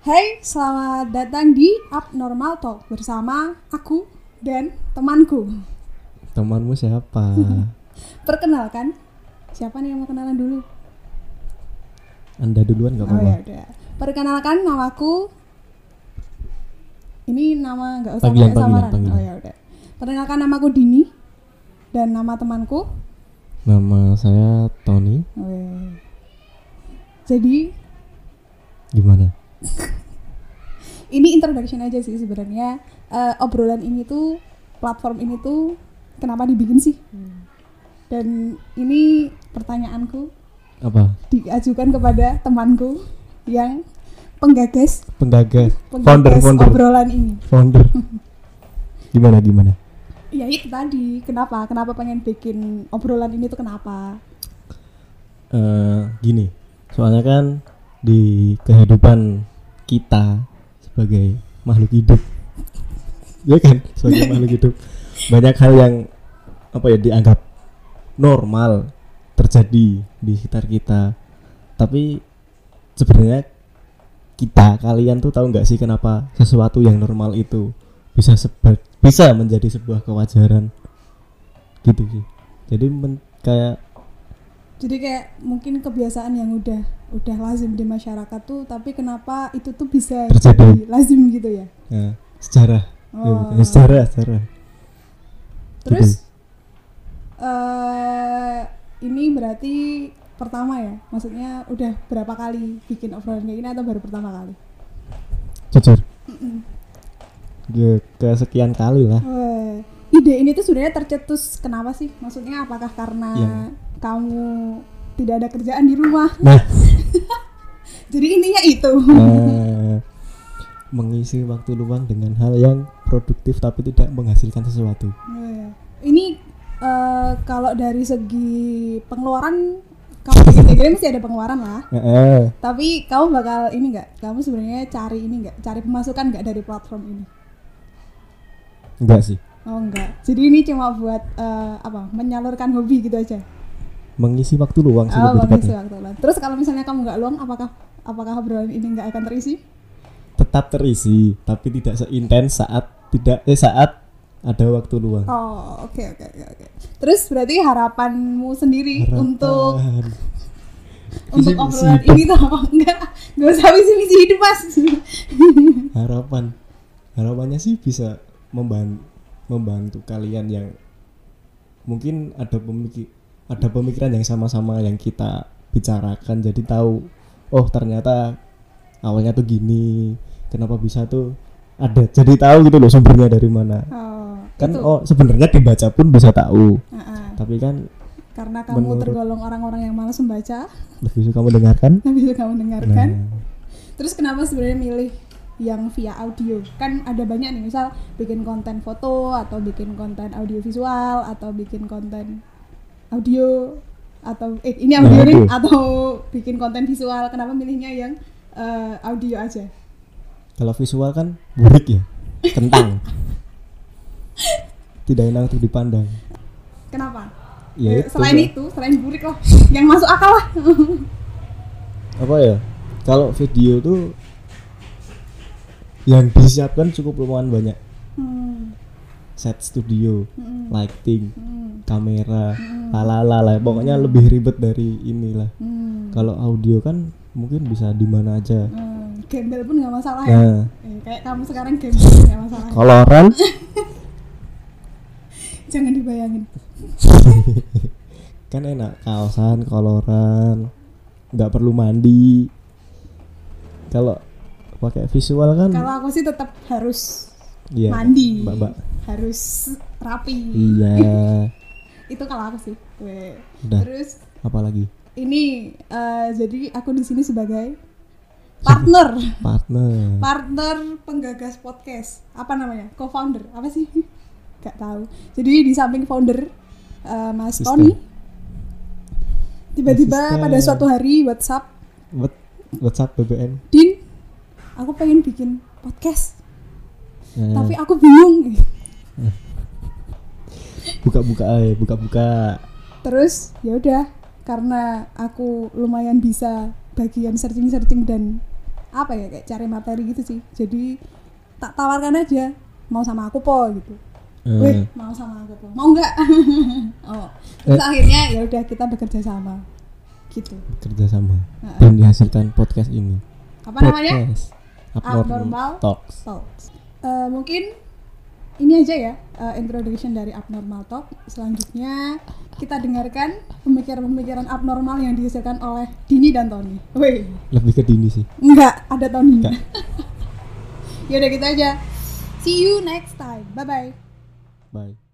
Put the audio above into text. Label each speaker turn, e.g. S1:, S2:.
S1: Hai, selamat datang di Abnormal Talk bersama aku dan temanku.
S2: Temanmu siapa?
S1: Perkenalkan, siapa nih yang mau kenalan dulu?
S2: Anda duluan nggak
S1: Oh
S2: apa-apa.
S1: ya udah. Perkenalkan namaku. Ini nama nggak usah
S2: Panggilan,
S1: pakai
S2: panggilan,
S1: samaran.
S2: panggilan.
S1: Oh ya udah. Perkenalkan namaku Dini dan nama temanku. Oh,
S2: Nama saya Tony.
S1: Weh. ya. Jadi
S2: Gimana?
S1: ini introduction aja sih sebenarnya Eh, obrolan ini tuh platform ini tuh kenapa dibikin sih dan ini pertanyaanku
S2: Apa?
S1: diajukan kepada temanku yang penggagas
S2: Penggagas,
S1: penggagas
S2: founder, founder,
S1: obrolan ini
S2: founder. Gimana gimana?
S1: ya itu tadi kenapa kenapa pengen bikin obrolan ini tuh kenapa
S2: Eh, gini, soalnya kan di kehidupan kita sebagai makhluk hidup, ya kan? Sebagai makhluk hidup, banyak hal yang apa ya dianggap normal terjadi di sekitar kita. Tapi sebenarnya kita kalian tuh tahu nggak sih kenapa sesuatu yang normal itu bisa seba- bisa menjadi sebuah kewajaran gitu sih. Jadi men- kayak
S1: jadi kayak mungkin kebiasaan yang udah udah lazim di masyarakat tuh tapi kenapa itu tuh bisa
S2: Terjadi.
S1: jadi lazim gitu ya
S2: Nah, sejarah. Ya,
S1: Oh.
S2: bukan sejarah, sejarah.
S1: Terus eh ini berarti pertama ya? Maksudnya udah berapa kali bikin obrolan kayak gini atau baru pertama kali?
S2: Jujur. Ya, kesekian kali lah.
S1: Weh, Eh, ide ini tuh sebenarnya tercetus kenapa sih? Maksudnya apakah karena
S2: Iya.
S1: kamu tidak ada kerjaan di rumah?
S2: Nah,
S1: Jadi intinya itu.
S2: eh, mengisi waktu luang dengan hal yang produktif tapi tidak menghasilkan sesuatu.
S1: Weh, ini eh, kalau dari segi pengeluaran kamu kira mesti ada pengeluaran lah.
S2: Eh, eh.
S1: Tapi kamu bakal ini nggak? Kamu sebenarnya cari ini nggak? Cari pemasukan nggak dari platform ini?
S2: Enggak sih.
S1: Oh enggak. Jadi ini cuma buat eh, apa? Menyalurkan hobi gitu aja.
S2: Mengisi waktu luang sih
S1: Oh,
S2: lebih
S1: mengisi
S2: tepatnya.
S1: waktu luang. Terus kalau misalnya kamu nggak luang, apakah apakah obrolan ini nggak akan terisi?
S2: Tetap terisi tapi tidak seintens saat tidak eh saat ada waktu luang.
S1: Oh, oke oke oke oke. Terus berarti harapanmu sendiri
S2: Harapan.
S1: untuk untuk
S2: Visi-misi
S1: obrolan
S2: hidup.
S1: ini tuh apa enggak? Gak usah visi misi hidup mas.
S2: Kan harapan harapannya sih bisa membantu membantu kalian yang mungkin ada pemikir ada pemikiran yang sama-sama yang kita bicarakan jadi tahu oh ternyata awalnya tuh gini kenapa bisa tuh ada jadi tahu gitu loh sumbernya dari mana
S1: Oh,
S2: kan
S1: itu.
S2: oh sebenarnya dibaca pun bisa tahu
S1: Ah, ah.
S2: tapi kan
S1: Karena kamu
S2: Menurut-
S1: tergolong orang-orang yang malas membaca,
S2: begitu kamu dengarkan
S1: habis itu kamu
S2: nah,
S1: dengarkan. Terus kenapa sebenarnya milih yang via audio? Kan ada banyak nih, misal bikin konten foto atau bikin konten audiovisual atau bikin konten audio atau eh ini
S2: Nah,
S1: audio nih
S2: audio.
S1: atau bikin konten visual. Kenapa milihnya yang eh, audio aja?
S2: kalau visual kan burik ya kentang tidak enak untuk dipandang
S1: Kenapa?
S2: ya
S1: Eh, selain
S2: Mbak.
S1: itu, selain burik lah, yang masuk akal lah.
S2: apa ya kalau video tuh yang disiapkan cukup lumayan banyak
S1: Hmm,
S2: set studio
S1: hmm,
S2: lighting
S1: hmm,
S2: kamera lalala lah pokoknya lebih ribet dari inilah
S1: hmm,
S2: kalau audio kan mungkin bisa di mana aja
S1: hmm. Gembel pun nggak masalah ya.
S2: nah
S1: Eh, kayak kamu sekarang gembel nggak masalah. ya.
S2: koloran
S1: Jangan dibayangin.
S2: kan enak kaosan koloran nggak perlu mandi kalau pakai visual kan
S1: Kalau aku sih tetap harus
S2: iya
S1: mandi
S2: mbak-mbak
S1: harus rapi
S2: iya
S1: itu kalau aku sih Weh.
S2: udah
S1: terus
S2: apalagi
S1: ini eh, jadi aku di sini sebagai partner
S2: partner
S1: partner penggagas podcast apa namanya co-founder apa sih nggak tahu jadi di samping founder eh, Mas
S2: Sister.
S1: Tony tiba-tiba
S2: Sister.
S1: pada suatu hari WhatsApp
S2: What, WhatsApp BBM.
S1: Din aku pengen bikin podcast
S2: Nah,
S1: tapi aku bingung
S2: buka-buka aja, buka-buka.
S1: terus ya udah karena aku lumayan bisa bagian searching searching dan apa ya kayak cari materi gitu sih jadi tak tawarkan aja mau sama aku po gitu
S2: Eh,
S1: Wih, mau sama aku po mau nggak oh terus
S2: Eh.
S1: akhirnya ya udah kita bekerja sama gitu
S2: kerjasama
S1: Heeh.
S2: dan dihasilkan podcast ini
S1: apa namanya
S2: podcast
S1: Abnormal.
S2: abnormal talks
S1: Talks. Eh, mungkin ini aja ya eh, introduction dari abnormal talk. Selanjutnya kita dengarkan pemikiran-pemikiran abnormal yang dihasilkan oleh Dini dan Tony. Wih,
S2: lebih ke dini sih
S1: enggak ada Tony.
S2: Enggak.
S1: Yaudah gitu aja. See you next time. Bye bye.
S2: bye